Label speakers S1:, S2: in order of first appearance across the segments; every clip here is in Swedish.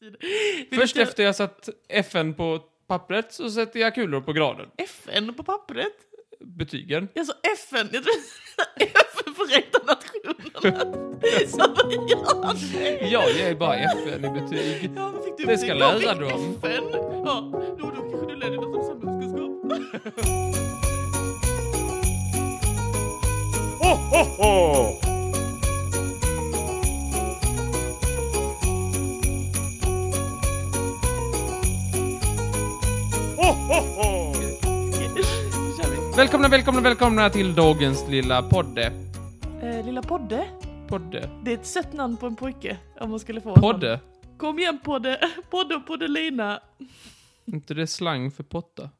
S1: tid. Vill
S2: Först
S1: inte-
S2: efter jag satt FN på pappret så sätter jag kulor på graden.
S1: FN på pappret?
S2: Betygen.
S1: Jag sa FN, jag trodde FN Förenta Nationerna. Så vad gör det?
S2: Jag ger bara FN i betyg.
S1: Ja, då fick du
S2: Det
S1: betyg.
S2: ska
S1: Jag
S2: lära
S1: fick
S2: dem.
S1: FN. Ja, då, då kanske du lär dig något om samhällskunskap. Nu kör vi.
S2: Välkomna, välkomna, välkomna till dagens lilla podde.
S1: Eh, lilla Podde,
S2: Podde.
S1: det är ett sött namn på en pojke om man skulle få honom.
S2: Podde.
S1: Kom igen Podde, Podde och Poddelina.
S2: inte det slang för potta?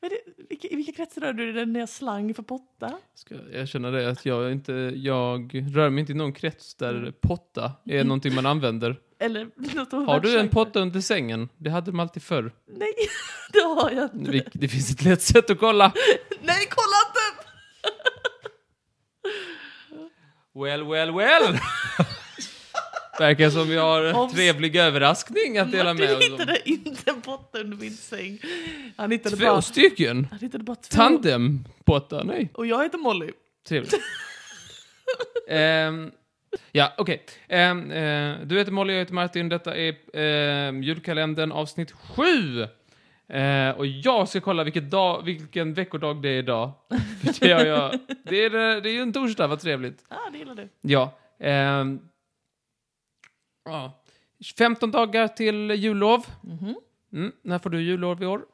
S1: Men det, vilka, I vilka kretsar rör du dig när jag slang för potta?
S2: Ska jag erkänna det att jag inte, jag rör mig inte i någon krets där potta
S1: Mm.
S2: är någonting man använder.
S1: Eller något av
S2: Har du en
S1: världslängd?
S2: potta under sängen? Det hade de alltid förr.
S1: Nej, det har jag inte.
S2: Vi- Det finns ett lätt sätt att kolla.
S1: Nej, kolla inte!
S2: Well, well, well! Verkar som vi har en
S1: Obs.
S2: trevlig överraskning att dela med
S1: Martin
S2: oss av.
S1: hittade inte en potta under min säng. Han hittade bara
S2: Två stycken?
S1: Han hittade bara två.
S2: Tandem? Potta? Nej.
S1: Och jag heter Molly.
S2: Trevligt. Ehm, ja, okej. Ehm, eh, du heter Molly, jag heter Martin. Detta är ehm, julkalendern avsnitt 7. och jag ska kolla vilket dag, vilken veckodag det är idag. För det, gör jag, det, är, eh, det är ju en torsdag, vad trevligt.
S1: Ah, det gillar du.
S2: Ja. ehm, ja. 15 dagar till jullov. Mm, när får du jullov i år?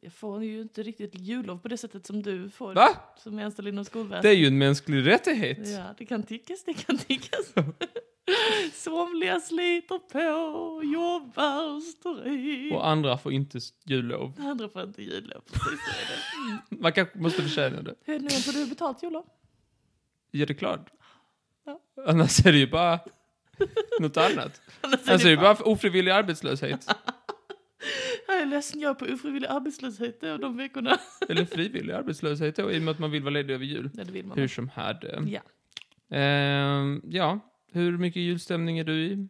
S1: Jag får ju inte riktigt jullov på det sättet som du får.
S2: Va?
S1: Som är anställd inom
S2: Det är
S1: skolväsendet.
S2: ju en mänsklig rättighet.
S1: Ja, det kan tyckas, det kan tyckas. Somliga sliter på, jobbar och stryk.
S2: Och andra får inte s- jullov.
S1: Andra får inte jullov. Precis så är det.
S2: Man kanske måste förtjäna det.
S1: Hur nu får du betalt jullov?
S2: Gör det klart.
S1: Ja.
S2: Annars är det ju bara något annat.
S1: Annars
S2: Annars är det
S1: är
S2: ju bara ofrivillig arbetslöshet.
S1: Jag är ledsen, jag är på ofrivillig arbetslöshet då, de veckorna.
S2: Eller frivillig arbetslöshet då, i och med att man vill vara ledig över jul.
S1: Nej, det vill man.
S2: Hur som helst.
S1: Ja.
S2: Ehm, ja, hur mycket julstämning är du i?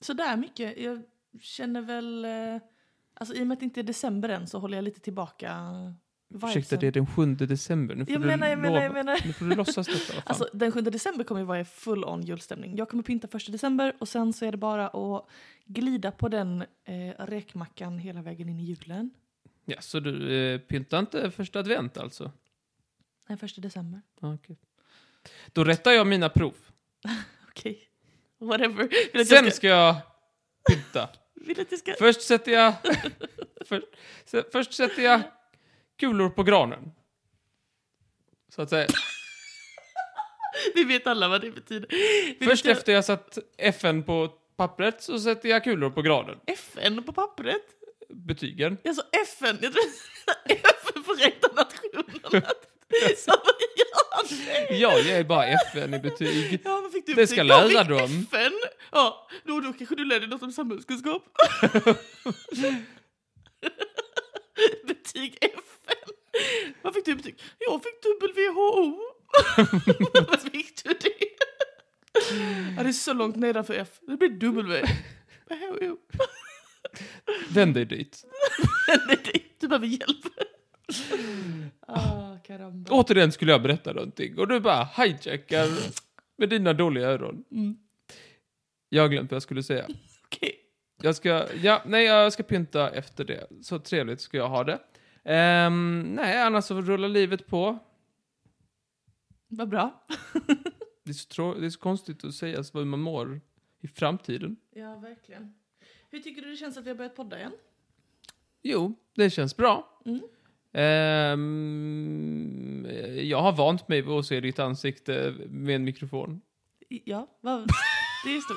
S1: Så där mycket. Jag känner väl... eh, Alltså i och med att det inte är december än så håller jag lite tillbaka vibesen.
S2: Ursäkta, det är den 7 december. Nu får
S1: Jag
S2: du
S1: menar, jag menar,
S2: lova-
S1: jag menar.
S2: Nu får du låtsas detta. vad fan.
S1: Alltså den 7 december kommer ju vara i full on julstämning. Jag kommer pynta första december och sen så är det bara att glida på den eh, räkmackan hela vägen in i julen.
S2: Ja, så du eh, pyntar inte första advent alltså?
S1: Nej, första december.
S2: Ja, okej. Då rättar jag mina prov.
S1: Okej. Whatever. Vill att,
S2: Sen
S1: jag ska,
S2: ska jag pynta.
S1: vill att jag ska...
S2: Först sätter jag... för, se- först sätter jag kulor på granen. Så att säga.
S1: Vi vet alla vad det betyder. Vill
S2: Först
S1: att jag-
S2: efter jag satt FN på pappret så sätter jag kulor på granen.
S1: FN på pappret.
S2: Betygen.
S1: Jag sa FN, jag trodde FN Förenta Nationerna. Så vad gör han?
S2: Jag ger bara FN i betyg.
S1: Ja, men fick du
S2: Det
S1: betyg?
S2: ska
S1: Ja,
S2: lära
S1: fick
S2: dem.
S1: FN. Ja, då, då kanske du lär dig något om samhällskunskap. betyg FN. Vad fick du betyg? Jag fick WHO. Vad fick du det? Ja, det är så långt nedanför F. Det blir W. WHO.
S2: Vänd dig dit.
S1: Nej, det- Du behöver hjälp. Ah, karamba.
S2: Återigen skulle jag berätta någonting och du bara hijackar med dina dåliga öron.
S1: Mm.
S2: Jag har glömt vad jag skulle säga.
S1: Okej.
S2: Jag ska, ja, nej, jag ska pynta efter det. Så trevligt ska jag ha det. Ehm, nej, annars så rullar livet på.
S1: Vad bra.
S2: Det är, så trå- det är så konstigt att säga så hur man mår i framtiden.
S1: Ja, verkligen. Hur tycker du det känns att vi har börjat podda igen?
S2: Jo, det känns bra.
S1: Mm.
S2: Ehm, jag har vant mig vid att se ditt ansikte med en mikrofon.
S1: Ja, vad- det är stort.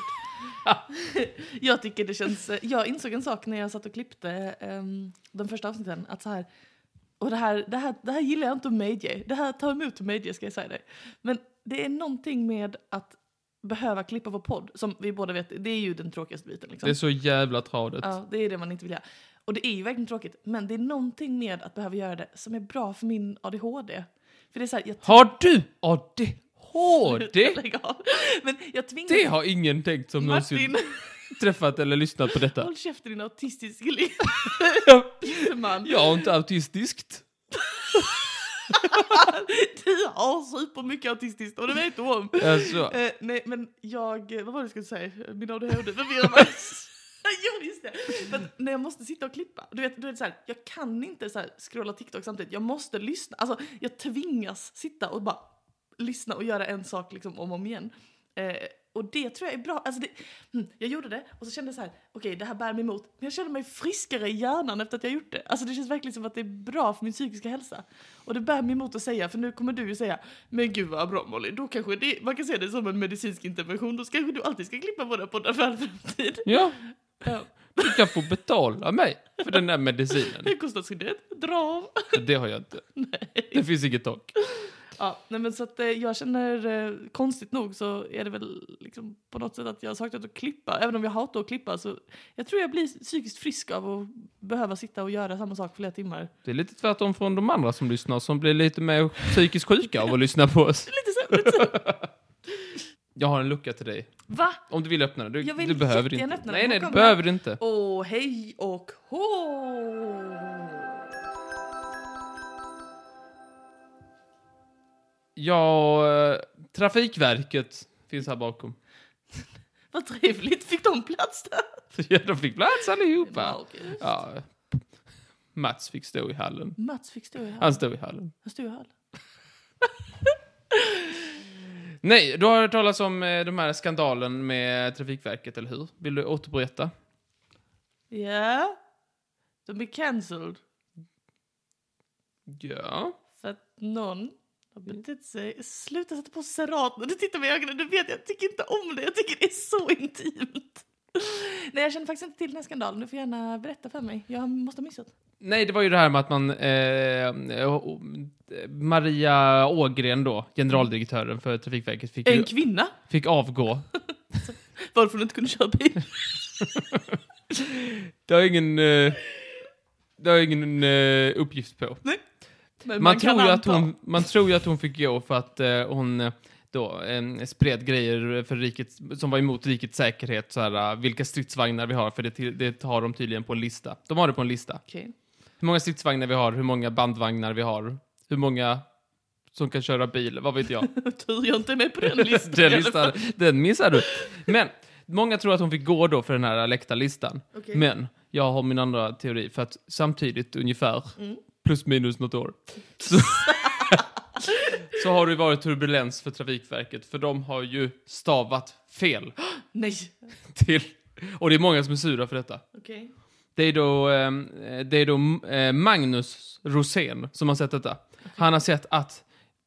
S1: jag tycker det känns... eh, Jag insåg en sak när jag satt och klippte ehm, de första avsnitten. Att så här, och det här, det, här, det här gillar jag inte att medge. Det här tar emot att medge, ska jag säga dig. Men det är någonting med att behöva klippa vår podd, som vi båda vet, det är ju den tråkigaste biten. Liksom.
S2: Det är så jävla tradigt.
S1: Ja, det är det man inte vill göra. Och det är ju verkligen tråkigt, men det är någonting med att behöva göra det som är bra för min ADHD. För det är så här, jag
S2: Har du ADHD?
S1: Lägg av. Men jag tvingas...
S2: Det har ingen tänkt som någonsin.
S1: Martin,
S2: träffat eller lyssnat på detta.
S1: Håll käften din autistiska li- man.
S2: Jag är inte autistiskt.
S1: Du har supermycket autistiskt och det vet du om.
S2: Alltså,
S1: Eh, nej, men jag... Vad var det jag skulle säga? Min ADHD förvirrar mig. jo, just det. För att när jag måste sitta och klippa. Du vet, du vet så här, jag kan inte så här, scrolla TikTok samtidigt. Jag måste lyssna. Alltså, jag tvingas sitta och bara lyssna och göra en sak liksom om och om igen. Eh, och det tror jag är bra. Alltså det, mm, jag gjorde det och så kände jag så här, okej det här bär mig emot. Men jag kände mig friskare i hjärnan efter att jag gjort det. Alltså det känns verkligen som att det är bra för min psykiska hälsa. Och det bär mig emot att säga, för nu kommer du ju säga, men gud vad bra Molly, då kanske det, man kan se det som en medicinsk intervention, då kanske du alltid ska klippa våra poddar för all framtid.
S2: ja,
S1: Ja.
S2: du kan få betala mig för den där medicinen.
S1: Det är kostnadsskyddet, dra av.
S2: Det har jag inte. Det finns inget tak.
S1: Ja, nej men så att eh, jag känner, eh, konstigt nog så är det väl liksom på något sätt att jag har saknat att klippa. Även om jag hatar att klippa så jag tror jag blir psykiskt frisk av att behöva sitta och göra samma sak flera timmar.
S2: Det är lite tvärtom från de andra som lyssnar, som blir lite mer psykiskt sjuka av att lyssna på oss.
S1: Lite så, lite så.
S2: Jag har en lucka till dig.
S1: Va?
S2: Om du vill öppna den. Du,
S1: Jag vill
S2: du behöver det
S1: jättegärna
S2: inte.
S1: öppna den.
S2: nej, nej,
S1: Hon
S2: du
S1: kommer
S2: behöver det inte.
S1: Och hej och hå!
S2: Ja, eh, Trafikverket finns här bakom.
S1: Vad trevligt, fick de plats där?
S2: Ja, de fick plats allihopa.
S1: Ja, okej.
S2: Ja. Mats fick stå i hallen.
S1: Mats fick stå i hallen.
S2: Han stod i hallen.
S1: Han stod i hallen.
S2: Nej, du har hört talas om eh, de här skandalen med Trafikverket, eller hur? Vill du återberätta?
S1: Ja. De blev cancelled
S2: Ja.
S1: för att någon har
S2: Mm.
S1: betett sig... Sluta sätta på serat när du tittar mig i ögonen. Du vet, jag tycker inte om det. Jag tycker det är så intimt. Nej, jag känner faktiskt inte till den här skandalen. Du får gärna berätta för mig. Jag måste ha missat.
S2: Nej, det var ju det här med att man... Eh, och- och- Maria Ågren då, generaldirektören för Trafikverket, fick, ju,
S1: En kvinna?
S2: fick avgå.
S1: Varför hon inte kunde köra bil?
S2: Det har ingen... Eh, det har ingen eh, uppgift på.
S1: Men kan
S2: Man, tror ju att
S1: anta.
S2: hon, man tror ju att hon fick gå för att eh, hon eh, då, eh, spred grejer för riket, som var emot rikets säkerhet. Så här, eh, vilka stridsvagnar vi har, för det, till- det har de tydligen på en lista. De har det på en lista.
S1: Okej.
S2: Hur många stridsvagnar vi har, hur många bandvagnar vi har, hur många som kan köra bil, vad vet jag.
S1: Tur jag inte är med på den listan.
S2: den,
S1: i alla fall.
S2: listan, den missar du. Men många tror att hon fick gå då för den här läktarlistan.
S1: Okej.
S2: Men jag har min andra teori, för att samtidigt ungefär,
S1: Mm.
S2: plus minus något år, så, så har det varit turbulens för Trafikverket, för de har ju stavat fel
S1: Nej.
S2: till... Och det är många som är sura för detta.
S1: Okej.
S2: Det är då, eh, det är då eh, Magnus Rosén som har sett detta. Han har sett att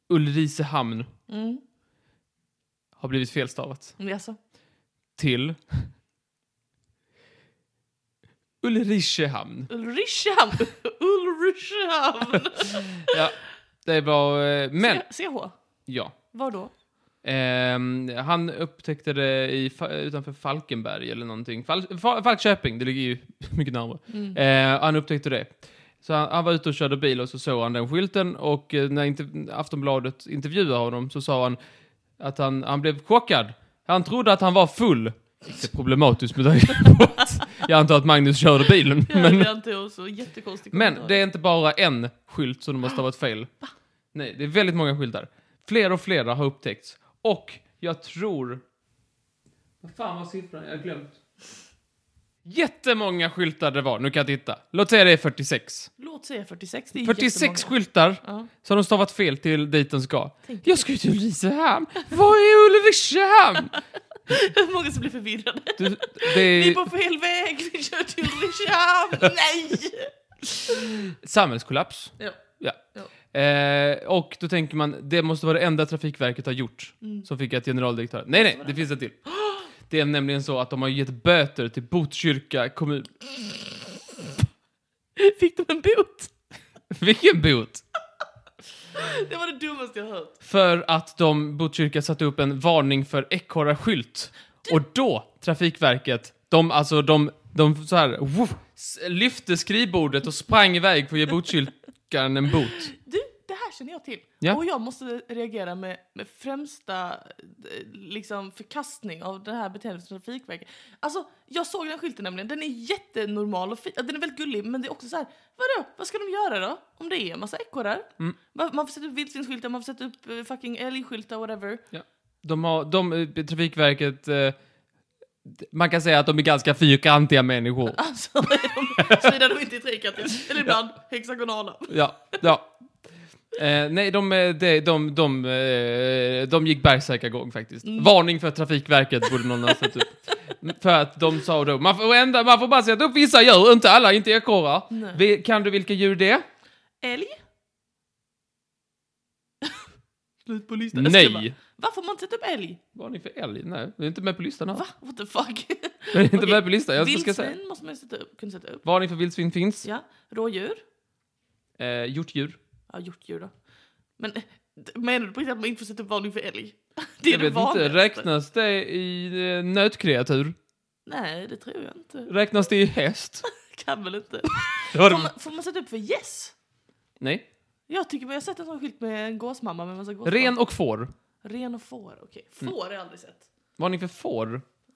S2: Ulricehamn
S1: Mm.
S2: har blivit felstavat
S1: Jaså?
S2: till Ulricehamn.
S1: Ulricehamn! Ulricehamn!
S2: Ja, det var... eh, Men,
S1: C- CH?
S2: ja.
S1: Var då?
S2: Ehm, han upptäckte det i, Fa- utanför Falkenberg eller någonting. Fal, Fa, Falköping, det ligger ju mycket närmare.
S1: Mm.
S2: Ehm, han upptäckte det. Så han, han var ute och körde bil och så såg han den skylten och eh, när inte, Aftonbladet intervjuade honom så sa han att han, han blev chockad. Han trodde att han var full. Det är problematiskt med tanke på att jag antar att Magnus körde bilen.
S1: Ja,
S2: Men,
S1: det är inte också jättekonstig
S2: men
S1: kommentar.
S2: det är inte bara en skylt som de har stavat fel. Nej, det är väldigt många skyltar. Fler och flera har upptäckts. Och jag tror... Vad fan var siffran? Jag har glömt. Jättemånga skyltar det var. Nu kan jag titta. Låt säga det är 46.
S1: Låt säga 46. Det är
S2: 46
S1: jättemånga.
S2: skyltar
S1: Ja.
S2: som de stavat fel till dit de ska.
S1: Tänk
S2: Jag ska ju till Ulricehamn. Vad är Ulricehamn?
S1: Hur många som blir förvirrade?
S2: Du, det är
S1: Vi är på fel väg! Vi kör till Ulricehamn! Nej!
S2: samhällskollaps.
S1: Ja.
S2: Ja.
S1: Ja.
S2: Eh, och då tänker man, det måste vara det enda Trafikverket har gjort som fick ett generaldirektör. Nej, nej, det finns ett till. Det är nämligen så att de har gett böter till Botkyrka kommun.
S1: Fick de en bot?
S2: Vilken bot!
S1: Det var det dummaste jag hört.
S2: För att de, Botkyrka satte upp en varning för ekorrarskylt. Och då, Trafikverket, de, alltså de, de så här, woof, s- lyfte skrivbordet och sprang iväg för att ge Botkyrkan en bot.
S1: Du, det här känner jag till.
S2: Ja.
S1: Och jag måste reagera med, med främsta eh, liksom, förkastning av det här beteendet från Trafikverket. Alltså, jag såg den skylten nämligen. Den är jättenormal och fin. Den är väldigt gullig, men det är också så här, vadå? Vad ska de göra då? Om det är en massa ekorrar?
S2: Mm.
S1: Va- Man får sätta upp vildsvinsskyltar, man får sätta upp eh, fucking älgskyltar, whatever.
S2: De har, de, eh, Trafikverket, eh, d- man kan säga att de är ganska fyrkantiga människor.
S1: Alltså, är de, såvida de inte är trekantiga. Eller ibland hexagonala.
S2: Ja, ja. Eh, nej, de, eh, de, de, de, eh, de gick bergsärkagång faktiskt.
S1: Mm.
S2: Varning för Trafikverket borde någon ha satt upp. För att de sa då, man får, ändra, man får bara sätta upp vissa djur, inte alla, inte ekorrar.
S1: Nej.
S2: Vi- Kan du vilka djur det är?
S1: Älg? Slut på listan. Jag skulle bara,
S2: Nej.
S1: Varför har man inte satt upp älg?
S2: Varning för älg? Nej, det är inte med på listan. här.
S1: Va? What the fuck?
S2: Det är inte
S1: Okej.
S2: med på listan, jag ska säga.
S1: Vildsvin måste man ju sätta upp, kunna sätta upp.
S2: Varning för vildsvin finns.
S1: Ja. Rådjur?
S2: Eh, hjortdjur.
S1: Ja, hjortdjur då. Men eh, d- menar du på riktigt att man inte får sätta upp varning för älg? Det är
S2: jag
S1: det
S2: vet inte,
S1: vanligaste.
S2: räknas det i eh, nötkreatur?
S1: Nej, det tror jag inte.
S2: Räknas det i häst?
S1: Kan väl inte.
S2: Det
S1: Får
S2: var de...
S1: man, får man sätta upp för gäss?
S2: Nej.
S1: Jag tycker jag har sett en sån skylt med en gåsmamma med en massa gåsbarn.
S2: Ren Mm. och får.
S1: Ren och får, okej. Får har jag aldrig sett.
S2: Varning för får.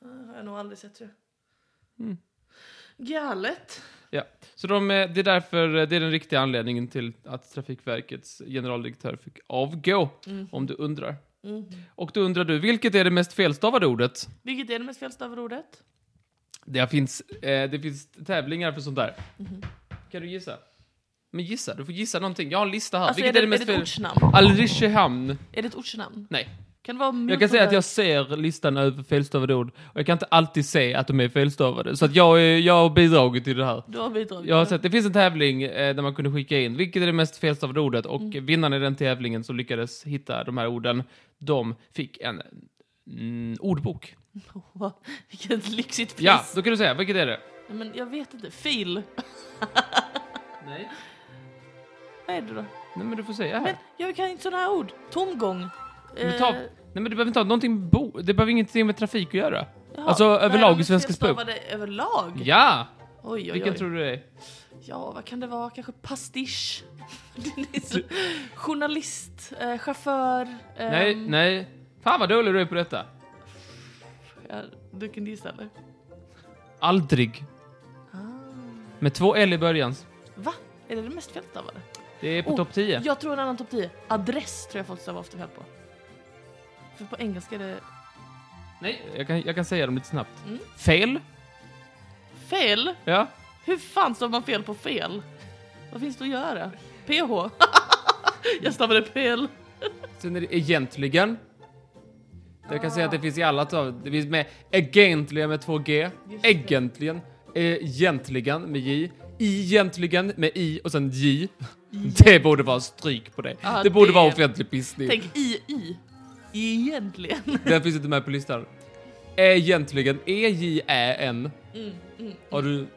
S1: Det har jag nog aldrig sett tror jag.
S2: Mm.
S1: Galet.
S2: Ja, så de, eh, det är därför, eh, det är den riktiga anledningen till att Trafikverkets generaldirektör fick avgå, om du undrar.
S1: Mm.
S2: Och då undrar du, vilket är det mest felstavade ordet?
S1: Vilket är det mest felstavade ordet?
S2: Det finns, eh, det finns tävlingar för sånt där.
S1: Mhm.
S2: Kan du gissa? Men gissa, du får gissa någonting. Jag har en lista här.
S1: Alltså,
S2: vilket
S1: är,
S2: är det mest
S1: är det ett
S2: fel...
S1: ortsnamn?
S2: Alrichehamn.
S1: Är det ett ortsnamn?
S2: Nej.
S1: Kan det vara
S2: Jag kan säga att jag ser listan över felstavade ord, och jag kan inte alltid se att de är felstavade. Så att jag, är- jag har bidragit till det här.
S1: Du har bidragit.
S2: Jag har sett, det finns en tävling eh, där man kunde skicka in vilket är det mest felstavade ordet och vinnaren i den tävlingen som lyckades hitta de här orden, de fick en mm, ordbok.
S1: Åh, Vilket lyxigt pris.
S2: Ja, då kan du säga, vilket är det?
S1: Nej, Men jag vet inte. Fil.
S2: Nej.
S1: Vad är det då?
S2: Nej men du får säga här.
S1: Men jag kan inte sådana här ord. Tomgång. Eh,
S2: Men ta, nej men du behöver inte ha någonting, med bo, det behöver ingenting med trafik att göra.
S1: jaha.
S2: alltså,
S1: Det här
S2: överlag
S1: är
S2: i svenska språk.
S1: felstavade Överlag?
S2: Ja! Ehm.
S1: Oj, oj,
S2: Vilken
S1: oj.
S2: tror du det är?
S1: Ja, vad kan det vara? Kanske pastisch? Det är så- Journalist, eh, chaufför. ehm,
S2: Nej, nej. Fan vad dålig du är på detta.
S1: Ja, du kan gissa eller?
S2: Aldrig. Med två L i början.
S1: Ah. Va? Är det det mest felstavade?
S2: Det är på
S1: Oh,
S2: topp 10.
S1: Jag tror en annan topp 10. Adress tror jag folk stavar ofta fel på. För på engelska är det
S2: Nej, jag kan, jag kan säga dem lite snabbt.
S1: Mm.
S2: Fel.
S1: fel.
S2: Ja.
S1: Hur fan stavar man fel på fel? Vad finns det att göra? PH? jag stavade fel.
S2: Sen är det egentligen. Jag kan säga att det finns i alla tal. Det finns med egentligen med 2G.
S1: Just det.
S2: Egentligen. Egentligen med J. Egentligen med I och sen J. Det borde vara stryk på det.
S1: Ja,
S2: det borde
S1: det-
S2: vara offentlig pissning.
S1: Tänk II. Egentligen.
S2: Den finns inte med på listan. Egentligen. E E-J-Ä-N.
S1: Mm, mm.
S2: Har du...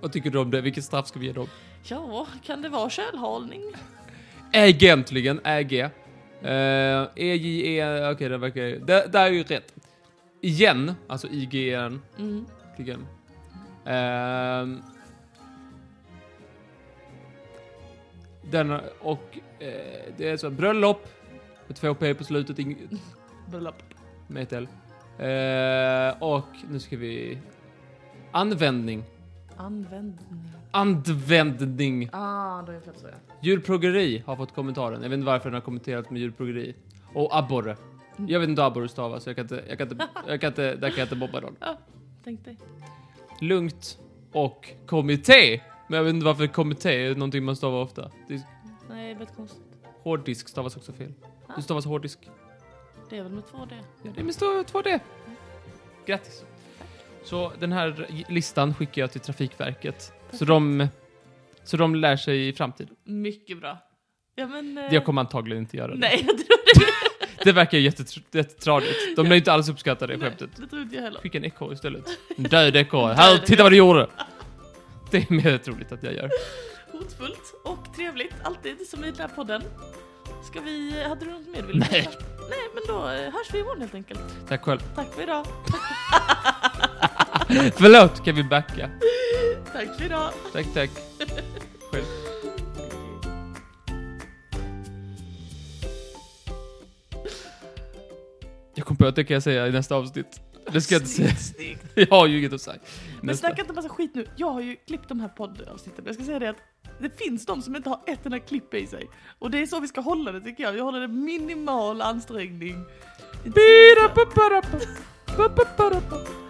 S2: Vad tycker du om det? Vilket straff ska vi ge dem?
S1: Ja, kan det vara kölhalning?
S2: Egentligen, äg. Uh, EJE, okej den verkar ju... Där, där är ju rätt. Igen, alltså IGN.
S1: Mm.
S2: Igen. Ehm. den och eh, det är så bröllop med två P på slutet, ing-
S1: Bröllop.
S2: med ett L. Eh, och nu ska vi... Användning.
S1: Användning.
S2: Användning.
S1: Ah, då är jag fel så ja.
S2: Djurplågeri har fått kommentaren. Jag vet inte varför den har kommenterat med djurplågeri. Och abborre. Jag vet inte hur abborre stavas, så jag kan inte, jag kan inte, jag kan inte, där kan jag inte mobba någon.
S1: Ja, tänk dig.
S2: Lugnt och kommitté. Men jag vet inte varför kommitté är någonting man stavar ofta. Det är-
S1: Nej, det är väldigt konstigt.
S2: Hårddisk stavas också fel. Det stavas hårddisk.
S1: Det är väl med två D.
S2: Ja, det är med stor 2D. Grattis. Så den här listan skickar jag till Trafikverket. Så de, så de lär sig i framtiden.
S1: Mycket bra. Ja, men... eh,
S2: Jag kommer antagligen inte göra det.
S1: Nej, jag tror det.
S2: Det verkar ju jättetr- jättetradigt. De lär ju inte alls uppskatta det
S1: Nej,
S2: skämtet.
S1: Det tror inte jag heller.
S2: Skicka en ekorre istället. En död ekorre. Här, titta vad du gjorde! Det är mer troligt att jag gör.
S1: Hotfullt och trevligt, alltid, som i den här podden. Ska vi... Hade du något mer du ville
S2: Nej.
S1: berätta? Nej, men då eh, hörs vi imorgon helt enkelt.
S2: Tack själv.
S1: Tack för idag.
S2: Förlåt, kan vi backa?
S1: Tack för idag.
S2: Tack, tack. Själv. skolböter kan jag säga i nästa avsnitt. Det ska jag inte säga.
S1: Snyggt, snyggt.
S2: Jag har ju inget att säga.
S1: Men
S2: Nästa.
S1: snacka inte massa skit nu. Jag har ju klippt de här poddavsnitten. Jag ska säga det att det finns de som inte har ett enda klipp i sig. Och det är så vi ska hålla det tycker jag. Vi håller det minimal ansträngning.
S2: Bira, pa, para, pa, pa, pa, para, pa.